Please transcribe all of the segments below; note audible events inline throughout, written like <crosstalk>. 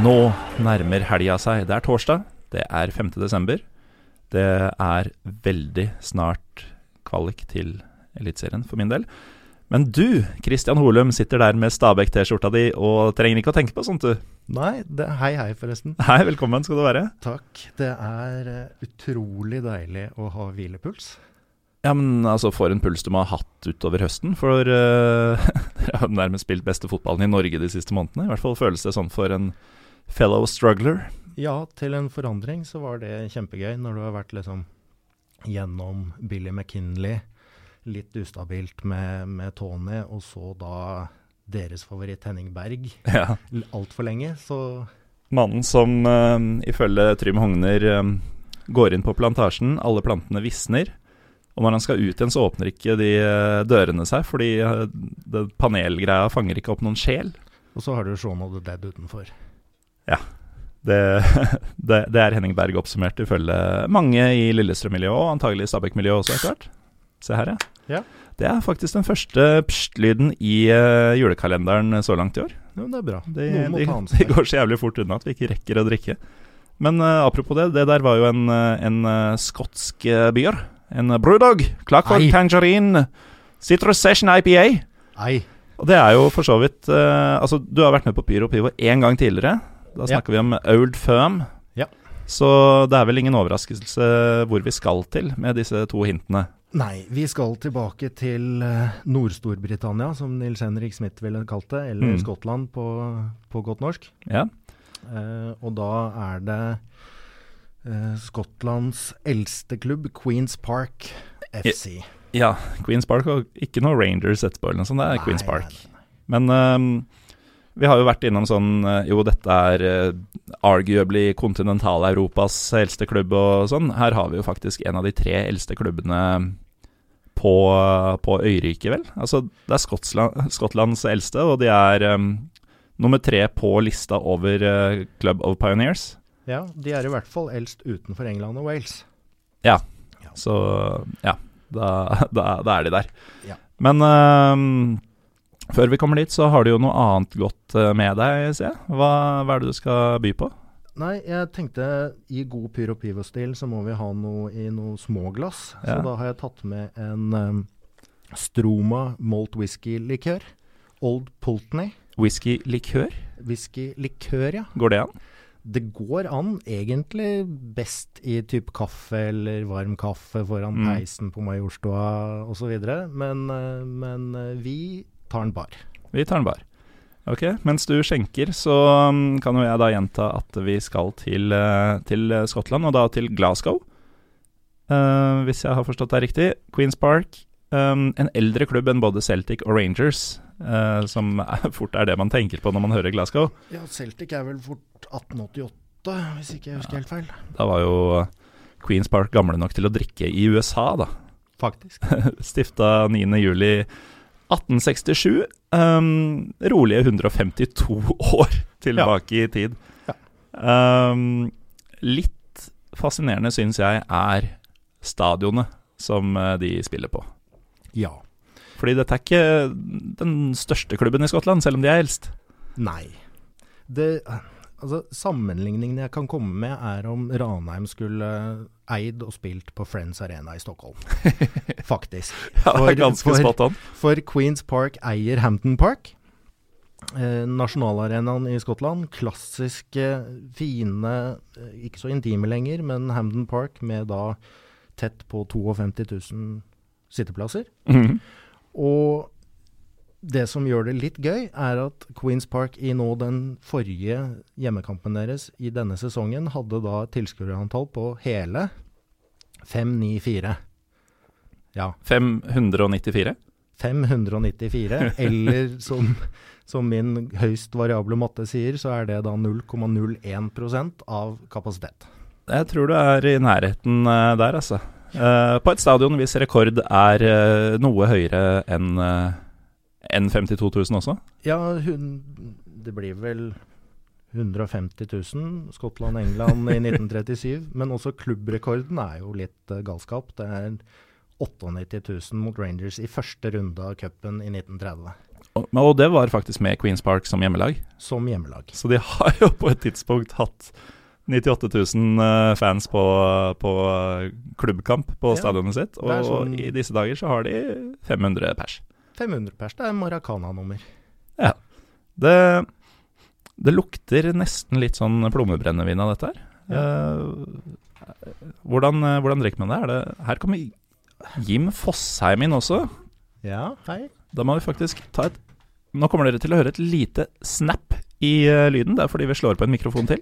Nå nærmer helga seg. Det er torsdag, det er 5. desember. Det er veldig snart kvalik til Eliteserien for min del. Men du, Christian Holum, sitter der med Stabæk-T-skjorta di og trenger ikke å tenke på sånt, du. Nei, det, hei hei forresten. Hei, velkommen skal du være. Takk. Det er eh, utrolig deilig å ha hvilepuls. Ja, men altså, for en puls du må ha hatt utover høsten. For eh, <laughs> dere har jo nærmest spilt beste fotballen i Norge de siste månedene. I hvert fall føles det sånn for en fellow struggler. Ja, til en forandring så var det kjempegøy når du har vært liksom gjennom Billy McKinley, litt ustabilt med, med Tony, og så da deres favoritt Henning Berg Ja. altfor lenge, så Mannen som eh, ifølge Trym Hogner eh, går inn på plantasjen, alle plantene visner. Og når han skal ut igjen, så åpner ikke de eh, dørene seg, fordi eh, det panelgreia fanger ikke opp noen sjel. Og så har du Shaun of the Dead utenfor. Det, <laughs> det, det er Henning Berg oppsummert ifølge mange i Lillestrøm-miljøet, og antagelig i Stabæk-miljøet også, etter hvert. Se her, ja. Ja. Det er faktisk den første pst-lyden i eh, julekalenderen så langt i år. Jo, men det er bra. Det, Noen må de, <laughs> ta de ansvar. går så jævlig fort unna at vi ikke rekker å drikke. Men eh, apropos det, det der var jo en, eh, en eh, skotsk eh, bier. En uh, brewdog. Clockwork Nei. Tangerine Citrus Session IPA. Nei, Og det er jo for så vidt eh, Altså, du har vært med på Pyro Pivo én gang tidligere. Da Ja. snakker vi om Old Firm. Ja. Så det er vel ingen overraskelse hvor vi skal til med disse to hintene. Nei, vi skal tilbake til eh, Nord-Storbritannia, som Nils Henrik Smith ville kalt det, eller Mm. Skottland på, på godt norsk. Ja. Eh, og da er det eh, Skottlands eldste klubb, Queens Park FC. ja. Queens Park og ikke noe Rangers etterpå, eller noe sånt. Det er Queens Nei, Park. nei, nei. Men ehm, vi har jo vært innom sånn eh, Jo, dette er eh, arguably kontinental-Europas eldste klubb og sånn. Her har vi jo faktisk en av de tre eldste klubbene på, på øyriket, vel. Altså, det er Skottland, Skottlands eldste, og de er ehm, nummer tre på lista over eh, Club of Pioneers. Ja, de er i hvert fall eldst utenfor England og Wales. Så ja, da, da, da er de der. Ja. Men ehm, før vi kommer dit, så har du jo noe annet godt eh, med deg, ser jeg. Hva, hva er det du skal by på? Nei, jeg tenkte i god Pyro Pivo-stil så må vi ha noe i noe småglass. Ja. Så da har jeg tatt med en em, Stroma malt whisky-likør. Old Pulteney. Whisky-likør, Whisky-likør, ja. går det an? Det går an egentlig best i type kaffe eller varm kaffe foran Mm. peisen på Majorstua osv., men, eh, men eh, vi tar den bar. Vi tar den bar. Ok, Mens du skjenker, så mm, kan jo jeg da gjenta at vi skal til, eh, til eh, Skottland, og da til Glasgow. Eh, hvis jeg har forstått det riktig. Queens Park. em, en eldre klubb enn både Celtic og Rangers, eh, som er, fort er det man tenker på når man hører Glasgow. Ja, Celtic er vel fort 1888, hvis ikke jeg husker helt feil. Da var jo Queens Park gamle nok til å drikke i USA, da. Faktisk. Stifta 9. juli 1867. Um, rolige 152 år tilbake i tid. Um, litt fascinerende syns jeg er stadionet som eh, de spiller på. Ja. Fordi dette er ikke den største klubben i Skottland, selv om de er eldst. Nei. Det, altså, sammenligningen jeg kan komme med, er om Ranheim skulle eid og spilt på Friends Arena i <laughs> Stockholm. Faktisk. Ja, det For- er ganske for- spot on. For Queens Park eier Hampton Park. Eh, nasjonalarenaen i Skottland. Klassiske, fine, eh, ikke så intime lenger, men Hampton Park med da tett på 52 000 sitteplasser. Mhm. <laughs> Og det som gjør det litt gøy, er at Queens Park i nå den forrige hjemmekampen deres i denne sesongen hadde da et tilskuerantall på hele 594. Ja, 594? 594, eller som, som min høyst variable matte sier, så er det da 0,01 av kapasitet. Jeg tror du er i nærheten eh, der, altså. Eh, på et stadion hvis rekord er eh, noe høyere enn eh, enn 52 000 også. Ja, hun, det blir vel 150 000 Skottland-England i 1937. Men også klubbrekorden er jo litt eh, galskap. Det er 98 000 mot Rangers i første runde av cupen i 1930, Og, men- og det var faktisk med Queens Park som hjemmelag. som hjemmelag. Så de <laughs> har jo på et tidspunkt hatt 98 000 eh, fans på, på eh, klubbkamp på Ja, stadionet sitt. Og det er sånn- i disse dager så har de 500 pers. 500 pers, det er Maracana-nummer. Det, det lukter nesten litt sånn plommebrennevin av dette her. Eh, hvordan, eh, hvordan drikker man det? Er det her kommer Jim Fosheim inn også. Ja, hei. Da må vi faktisk ta et Nå kommer dere til å høre et lite snap i eh, lyden. Det er fordi vi slår på en mikrofon til.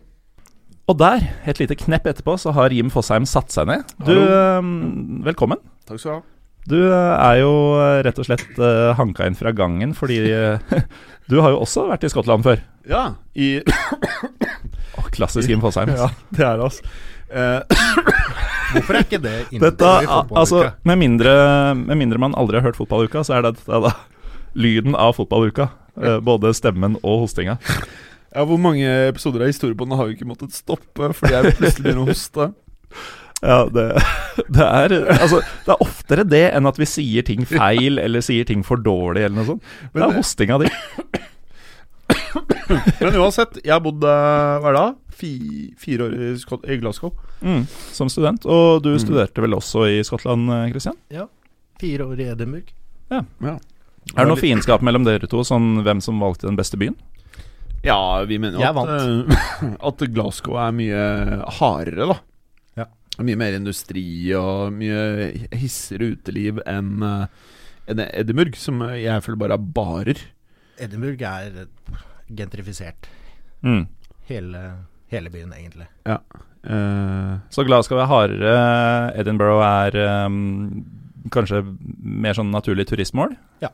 Og der, et lite knepp etterpå, så har Jim Fosheim satt seg ned. Du, eh, velkommen. Takk skal du ha. Du eh, er jo eh, rett og slett eh, hanka inn fra gangen fordi eh, <laughs> du har jo også vært i Skottland før. Ja, i Å, klassisk Jim Fosheim. Ja, det er altså eh, Hvorfor er ikke det Dette, inntatt i al- altså, fotballuka? med mindre, med mindre man aldri har hørt fotballuka, så er det dette da lyden av fotballuka. Eh, Både stemmen og hostinga. ja, Hvor mange episoder av Historiebåndet har vi ikke måttet stoppe fordi jeg plutselig begynner å hoste? Ja, det, <laughs> det, er, altså, det er oftere det enn at vi sier <laughs> ting feil eller sier ting for dårlig eller noe sånt. Det Men er det- hostinga di. Men uansett, jeg bodde hva er det da? Fi, fire år i, Skot i Glasgow. Mm, som student. Og du studerte vel også i Skottland, eh, Christian? Fire år i Edinburgh. Er det noe fiendskap mellom dere to, sånn hvem som valgte den beste byen? Ja, vi mener jo Jeg at, eh, at Glasgow er mye hardere, da. Ja. Mye mer industri og mye hissigere uteliv enn eh, enn Edinburgh, som jeg føler bare er barer. Edinburgh er eh, gentrifisert. Mm. Hele, hele byen, egentlig. Eh, Så Glasgow er hardere, Edinburgh er eh, kanskje mer sånn naturlig turistmål. Ja.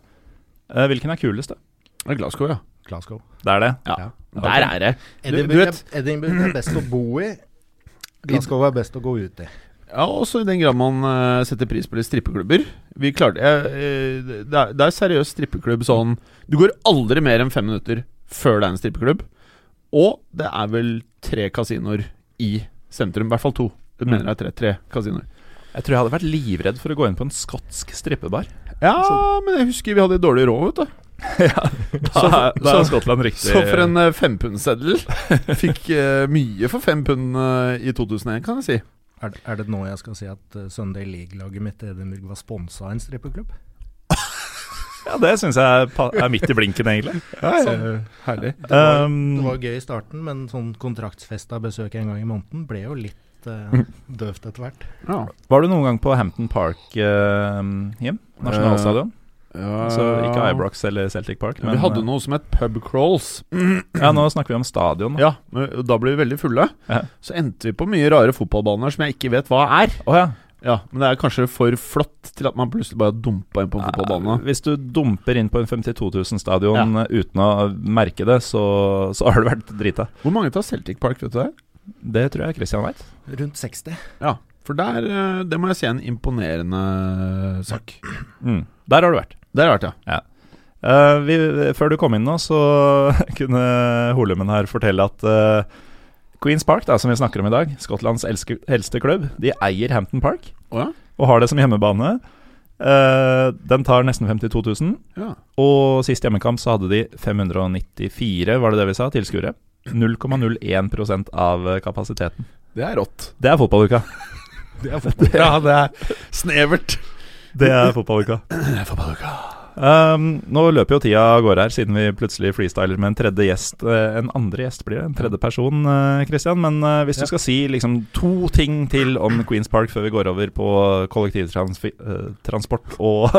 Eh, hvilken er kulest, da? det er Glasgow, ja. Glasgow. Det er det. Ja. Der er det. Edinburgh, Du- du vet- er, Edinburgh er best å bo i. <clears throat> Glasgow er best å gå ut i. Ja, også i den grad man eh, setter pris på litt strippeklubber. Vi klarte jeg, eh, det, er, det er seriøst strippeklubb sånn Du går aldri mer enn fem minutter før det er en strippeklubb. Og det er vel tre kasinoer i sentrum. I hvert fall to. Du mener det er tre, tre kasinoer. Jeg tror jeg hadde vært livredd for å gå inn på en skotsk strippebar. Ja, men jeg husker vi hadde dårlig råd, vet du. <laughs> Da er, da er så- Skottland riktig. Så for en eh, fempundseddel. Fikk eh, mye for fem pund eh, i 2001, kan jeg si. Er, det- er det nå jeg skal si at uh, Sunday League-laget mitt i Edinburgh var sponsa av en strippeklubb? Ja, det syns jeg pa- er midt i blinken, egentlig. Så, herlig. <laughs> Det var, Um, det var gøy i starten, men sånn kontraktsfesta besøk en gang i måneden ble jo litt uh, <laughs> døvt etter hvert. Ja. Var du noen gang på Hampton Park, eh, Jim? Nasjonalstadion? Så ikke Ibrox eller Celtic Park. eh, Men, vi hadde noe som het pub crawls. Ja, nå snakker vi om stadion. da. Ja, men da ble vi veldig fulle. Ja. Så endte vi på mye rare fotballbaner som jeg ikke vet hva er. Å ja. Ja, Men det er kanskje for flott til at man plutselig bare dumpa inn på en fotballbane. Hvis du dumper inn på en 52 000-stadion eh, uten å merke det, så, så har du vært drita. Hvor mange tar Celtic Park, vet du det? Det tror jeg Christian veit. Rundt 60. Ja, for der, eh, det må jeg si er en imponerende sak. Mm. Der har du vært. Der har jeg vært, ja. Eh, vi, før du kom inn nå, så <laughs> kunne Holumen her fortelle at eh, Queens Park, da, som vi snakker om i dag, Skottlands elske, eldste klubb, de eier Hampton Park Å ja? og har det som hjemmebane. Eh, den tar nesten 52 000, ja. og sist hjemmekamp så hadde de 594, var det det vi sa, tilskuere. 0,01 av kapasiteten. Det er rått. Det er <laughs> fotballuka. Det er fotball. ja, det er snevert. <laughs> <clears throat> Det er fotballuka. Det er fotballuka. Ehm, nå løper jo tida av gårde her, siden vi plutselig freestyler med en tredje gjest. eh, en andre gjest blir det, en tredje person, eh, Christian. Men eh, hvis du skal si liksom to ting til om Queens Park før vi går over på kollektivtransport <laughs> og,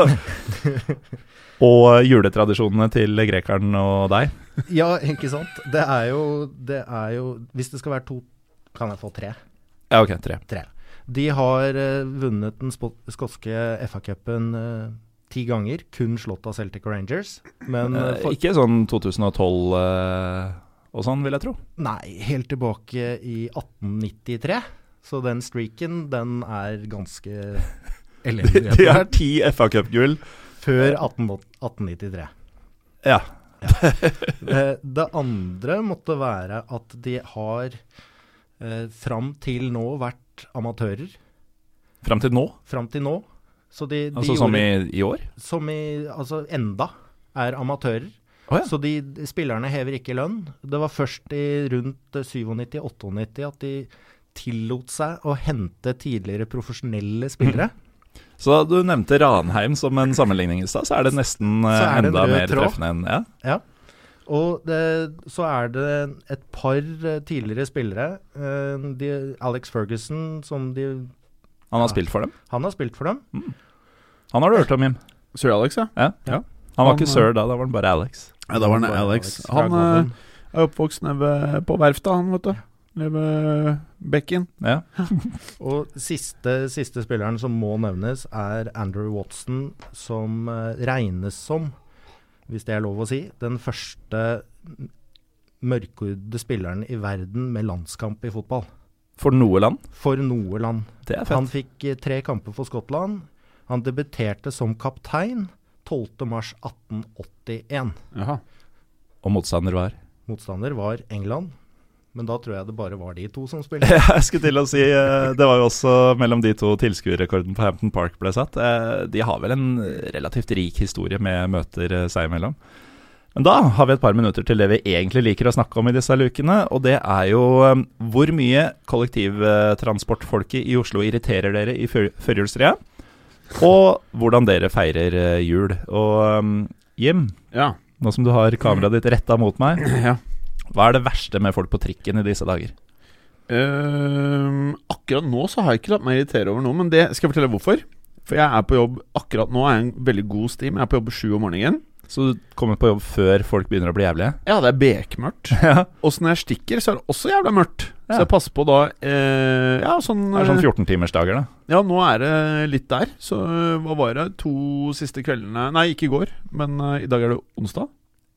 og juletradisjonene til grekeren og deg Ja, ikke sant? Det er jo, det er jo Hvis det skal være to, kan jeg få tre? Ja, ok, tre. Tre. De har eh, vunnet den spo- skotske FA-cupen eh, ti ganger, kun slått av Celtic Rangers. Men eh, Eh, for, ikke sånn 2012 eh, og sånn, vil jeg tro. Nei, helt tilbake i 1893. Så den streaken, den er ganske <laughs> elendig. De har ti FA Cup-gull. Før 18, 1893. Ja. Eh, Det andre måtte være at de har eh, fram til nå vært amatører. Fram til nå, Fram til nå. Så de, de altså som i, gjorde- i år. som i Altså enda er amatører. Å ja. Så de, de spillerne hever ikke lønn. Det var først i rundt 97-98 at de tillot seg å hente tidligere profesjonelle spillere. Mhm. Så da du nevnte Ranheim som en sammenligning i stad, så er det nesten eh, Så er det en enda rød mer tråd. treffende enn ja. Ja. Og det, så er det et par eh, tidligere spillere. Eh, De, Alex Ferguson, som de Han har Ja. spilt for dem. Han har spilt for dem. Han har du hørt om, Jim. Sir Alex, ja. Ja. Ja. Han var Han, eh, ikke sir da, da var han bare Alex. ja da var han Bare Alex. fra Han eh, Globen. er oppvokst nede ved- på verftet, han, vet du. Nede ved bekken. Ja. Og siste, siste spilleren som må nevnes, er Andrew Watson, som eh, regnes som, hvis det er lov å si, den første m- mørkhudede spilleren i verden med landskamp i fotball. For noe land. For noe land. Det er Han fett. fikk eh, tre kamper for Skottland. Han debuterte som kaptein 12.3.1881. Jaha. Og motstander var Motstander var England, men da tror jeg det bare var de to som spilte. <laughs> Jeg skulle til å si eh, Det var jo også mellom de to tilskuerrekorden på Hampton Park ble satt. Eh, De har vel en relativt rik historie med møter eh, seg imellom. Men da har vi et par minutter til det vi egentlig liker å snakke om i disse lukene, og det er jo eh, hvor mye kollektivtransportfolket i Oslo irriterer dere i før- førjulstrea, og hvordan dere feirer eh, jul. Og eh, Jim, Ja. <clears throat> nå som du har kameraet ditt retta mot meg, ja. hva er det verste med folk på trikken i disse dager? Ehm, akkurat nå så har jeg ikke latt meg irritere over noe, men det skal jeg fortelle hvorfor. For jeg er på jobb akkurat nå, er jeg i en veldig god stim. Jeg er på jobb sju om morgenen. Så du kommer på jobb før folk begynner å bli jævlige? Ja, det er bekmørkt. <laughs> Ja. Og så når jeg stikker, så er det også jævla mørkt. Ja. Så jeg passer på da eh, Ja, sånn, Det er sånn eh, 14-timersdager, da. Ja, nå er det litt der. Så eh, hva var det? To siste kveldene Nei, ikke i går, men eh, i dag er det onsdag.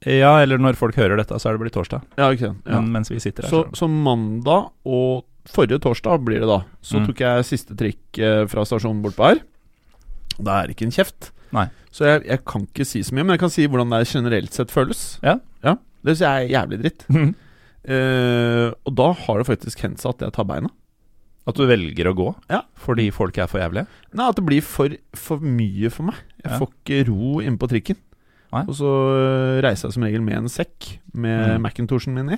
Ja, eller når folk hører dette, så er det blitt torsdag. Ja, ikke sant. Ja. Men mens vi sitter her, Så, så, så mandag og forrige torsdag blir det da. Så Mm. tok jeg siste trikk eh, fra stasjonen bortpå her. Da er det ikke en kjeft. Nei. Så jeg, jeg kan ikke si så mye, men jeg kan si hvordan det generelt sett føles. Ja. Det syns jeg er jævlig dritt. Mhm. Eh, og da har det faktisk hendt seg at jeg tar beina. At du velger å gå Ja. fordi folk er for jævlige. Nei, at det blir for, for mye for meg. Jeg Ja. får ikke ro inne på trikken. Nei. Og så øh, reiser jeg som regel med en sekk med Mm. Macintoshen min i.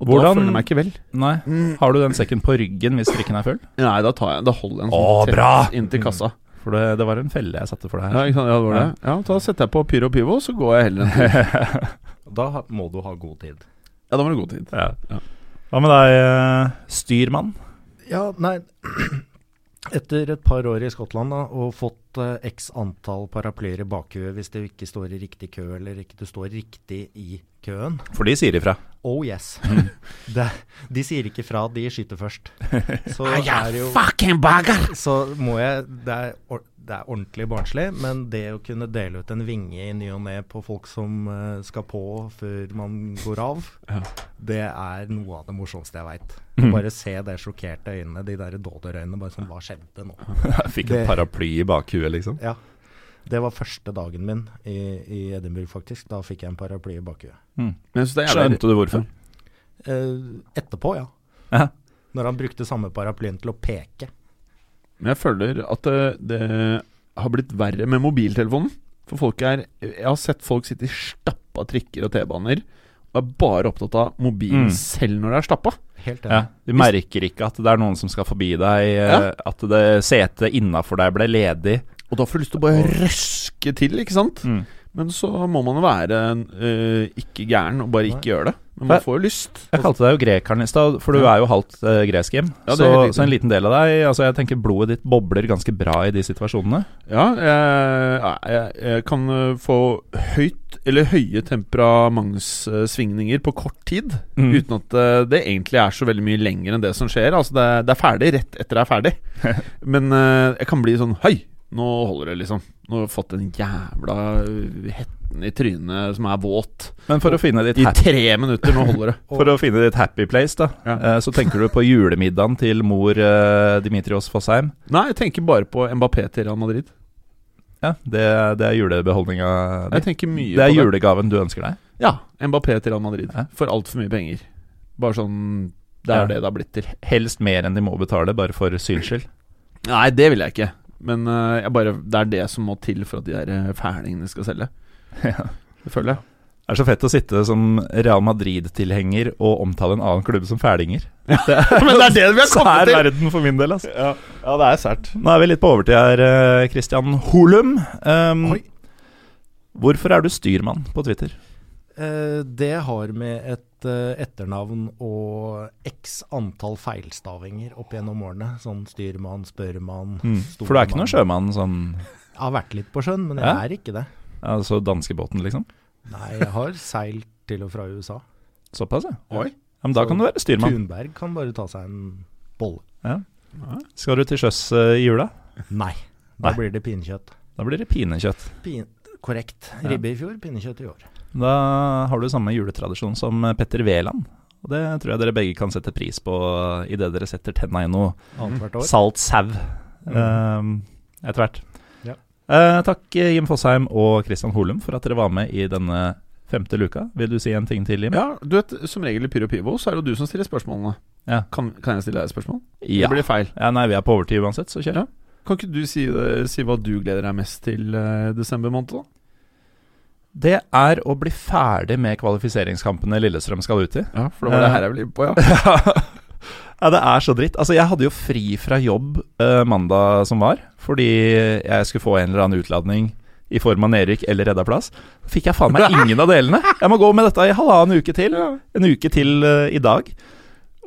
Og Hvordan- Mm. da føler jeg meg ikke vel. Nei. Har du den sekken på ryggen hvis trikken er full? Nei, da tar jeg Da holder jeg en Å, sånn bra! tett inntil kassa. For det, det var en felle jeg satte for deg <laughs> Ja, her. ikke sant? Ja, det var det. ja, da setter jeg på Pyro Pivo, så går jeg heller en tur. <laughs> Da ha- må du ha god tid. Ja, da var det god tid. Ja. Ja. Hva med deg, eh, styrmann? Ja, nei <clears throat> Etter et par år i Skottland da, og fått eh, x antall paraplyer i bakhuet hvis du ikke står i riktig kø, eller ikke du står riktig i køen For de sier ifra. Oh yes. <laughs> Det, de sier ikke fra, de skyter først. Så er jo Fucking bagger! Så må jeg det er, or- det er ordentlig barnslig, men det å kunne dele ut en vinge i ny og ne på folk som eh, skal på før man går av, det er noe av det morsomste jeg veit. Mhm. Bare se det sjokkerte øynene, de der dåderøynene. Bare sånn, hva skjedde nå? Jeg fikk en Det- paraply i bakhuet, liksom. Ja. Det var første dagen min i, i Edinburgh, faktisk. Da fikk jeg en paraply i bakhuet. Men jeg synes det er jævlig Skjønte du hvorfor? Eh, etterpå, ja. Ja. Når han brukte samme paraplyen til å peke. Men jeg føler at det, det har blitt verre med mobiltelefonen. For folk er Jeg har sett folk sitte i stappa trikker og T-baner og er bare opptatt av mobilen Mm. selv når det er stappa. Helt Ja, enig. du merker ikke at det er noen som skal forbi deg, eh, Ja. at det setet innafor deg ble ledig, Og da får du lyst til å bare røske til, ikke sant? Mm. Men så må man jo være eh, ikke gæren og bare ikke gjøre det. Men Nei. man får jo lyst. Jeg kalte deg jo grekeren i stad, for du Ja. er jo halvt eh, gresk, Jim. Ja, så, det er helt riktig. så en liten del av deg Altså, jeg tenker blodet ditt bobler ganske bra i de situasjonene. Ja, jeg, jeg, jeg kan eh, få høyt eller høye temperamentssvingninger på kort tid. Mm. Uten at eh, det egentlig er så veldig mye lenger enn det som skjer. Altså, det, er- det er ferdig rett etter det er ferdig. <laughs> Men eh, jeg kan bli sånn Hei, nå holder det, liksom. Nå har jeg fått den jævla eh, hetten i trynet som er våt. Men for å finne ditt I happy, tre minutter. Nå <laughs> holder det. for å finne ditt happy place, da, Ja. eh, så tenker du på julemiddagen til mor eh, Dimitrios Fosheim. Nei, jeg tenker bare på Mbappé til Real Madrid. Ja, det, det er julebeholdninga di. Jeg tenker mye Det er på det. julegaven du ønsker deg. Ja, Mbappé til Real Madrid. Ja. For altfor mye penger. Bare sånn Det er Ja. det det har blitt til. Helst mer enn de må betale, bare for syns <laughs> skyld. Nei, det vil jeg ikke. Men eh, jeg bare, det er det som må til for at de der eh, fælingene skal selge. Ja. Det føler jeg. Det er så fett å sitte som Real Madrid-tilhenger og omtale en annen klubb som fælinger. <laughs> Men det er det <laughs> vi har Så kommet er til! verden for min del, altså. Ja, det er sært. Nå er vi litt på overtid her, eh, Christian Holum. Um, Oi. hvorfor er du styrmann på Twitter? Eh, det har med et eh, etternavn og x antall feilstavinger opp gjennom årene. Sånn styrmann, spørremann, stormann. Mm. For du er ikke noen sjømann sånn Jeg har vært litt på sjøen, men jeg Ja? er ikke det. altså danskebåten, liksom? Nei, jeg har seilt til og fra USA. <laughs> Såpass, ja. Oi. ja men da kan du være styrmann. Thunberg kan bare ta seg en bolle. Skal du til sjøs eh, i jula? Nei, da Nei. blir det pinnekjøtt. Da blir det pinekjøtt. Pin korrekt. Ribbe i fjor, pinnekjøtt i år. Da har du samme juletradisjon som eh, Petter Wæland. Og det tror jeg dere begge kan sette pris på idet dere setter tenna i noe Annethvert år. salt sau ehm, etter hvert. Ja. Eh, takk eh, Jim Fosheim og Christian Holum for at dere var med i denne femte luka. Vil du si en ting til, Jim? Ja, du vet, som regel i Pyro Pivo så er det jo du som stiller spørsmålene. Ja. Kan, kan jeg stille deg et spørsmål? Ja. Det blir feil. Ja, nei, vi er på overtid uansett, så kjør. Ja. Kan ikke du si, det, si hva du gleder deg mest til eh, desember måned, da? Det er å bli ferdig med kvalifiseringskampene Lillestrøm skal ut i. Ja, for det var det Eh. her jeg ville inn på, ja. <laughs> ja, det er så dritt. Altså, jeg hadde jo fri fra jobb eh, mandag som var, fordi jeg skulle få en eller annen utladning i form av nedrykk eller redda plass. Fikk jeg faen meg ingen av delene. Jeg må gå med dette i halvannen uke til. En uke til eh, i dag.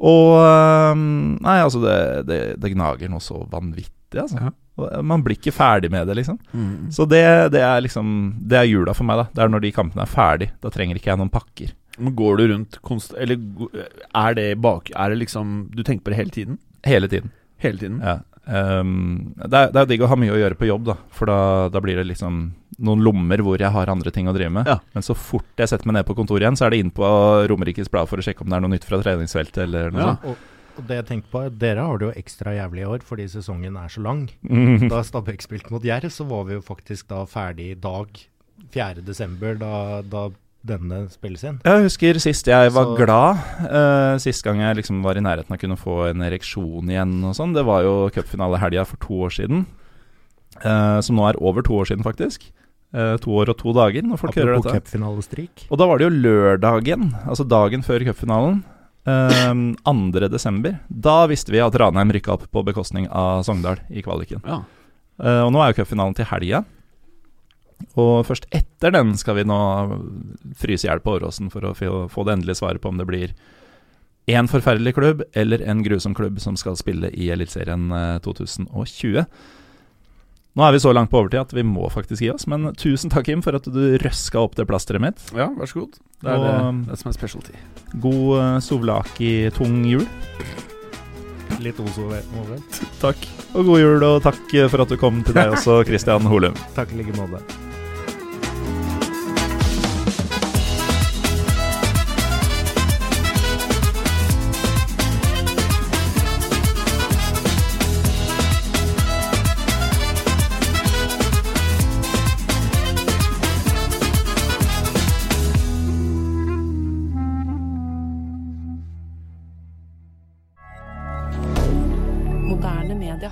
Og eh, Nei, altså, det, det, det gnager noe så vanvittig, altså. Og, eh, Man blir ikke ferdig med det, liksom. Mm. Så det, det er liksom Det er jula for meg, da. Det er når de kampene er ferdig. Da trenger ikke jeg noen pakker. Men går du rundt konst... Eller go- er det i bak... Er det liksom Du tenker på det hele tiden? Hele tiden. Hele tiden? Ja. ehm, det, er, det er digg å ha mye å gjøre på jobb, da. For da, da blir det liksom noen lommer hvor jeg har andre ting å drive med. Ja. Men så fort jeg setter meg ned på kontoret igjen, så er det inn på Romerikes Blad for å sjekke om det er noe nytt fra treningsfeltet eller noe Ja. sånt. Og, og det jeg tenkte på, er at dere har det jo ekstra jævlig i år fordi sesongen er så lang. Mhm. Da Stabæk spilte mot Jerv, så var vi jo faktisk da ferdig i dag, 4.12., da, da denne spilles inn. Jeg husker sist jeg var Så- glad. eh, sist gang jeg liksom var i nærheten av å kunne få en ereksjon igjen og sånn. Det var jo cupfinalehelga for to år siden. eh, som nå er over to år siden, faktisk. Eh, to år og to dager, når folk hører Apropos dette. cupfinalestrik. Og da var det jo lørdagen, altså dagen før cupfinalen. ehm, 2. desember. Da visste vi at Ranheim rykka opp på bekostning av Sogndal i kvaliken. Ja. Eh, og nå er jo cupfinalen til helga. Og først etter den skal vi nå fryse i hjel på Åråsen for å få få det endelige svaret på om det blir én forferdelig klubb eller en grusom klubb som skal spille i Eliteserien eh, 2020. Nå er vi så langt på overtid at vi må faktisk gi oss, men tusen takk, Kim, for at du røska opp det plasteret mitt. Ja, vær så god. Det er Og, det, um, det som er specialty. God eh, souvlaki-tung jul. Litt oso over. Takk. Og god jul, og takk eh, for at du kom til deg også, Christian Holum. Takk i like måte. Moderne media.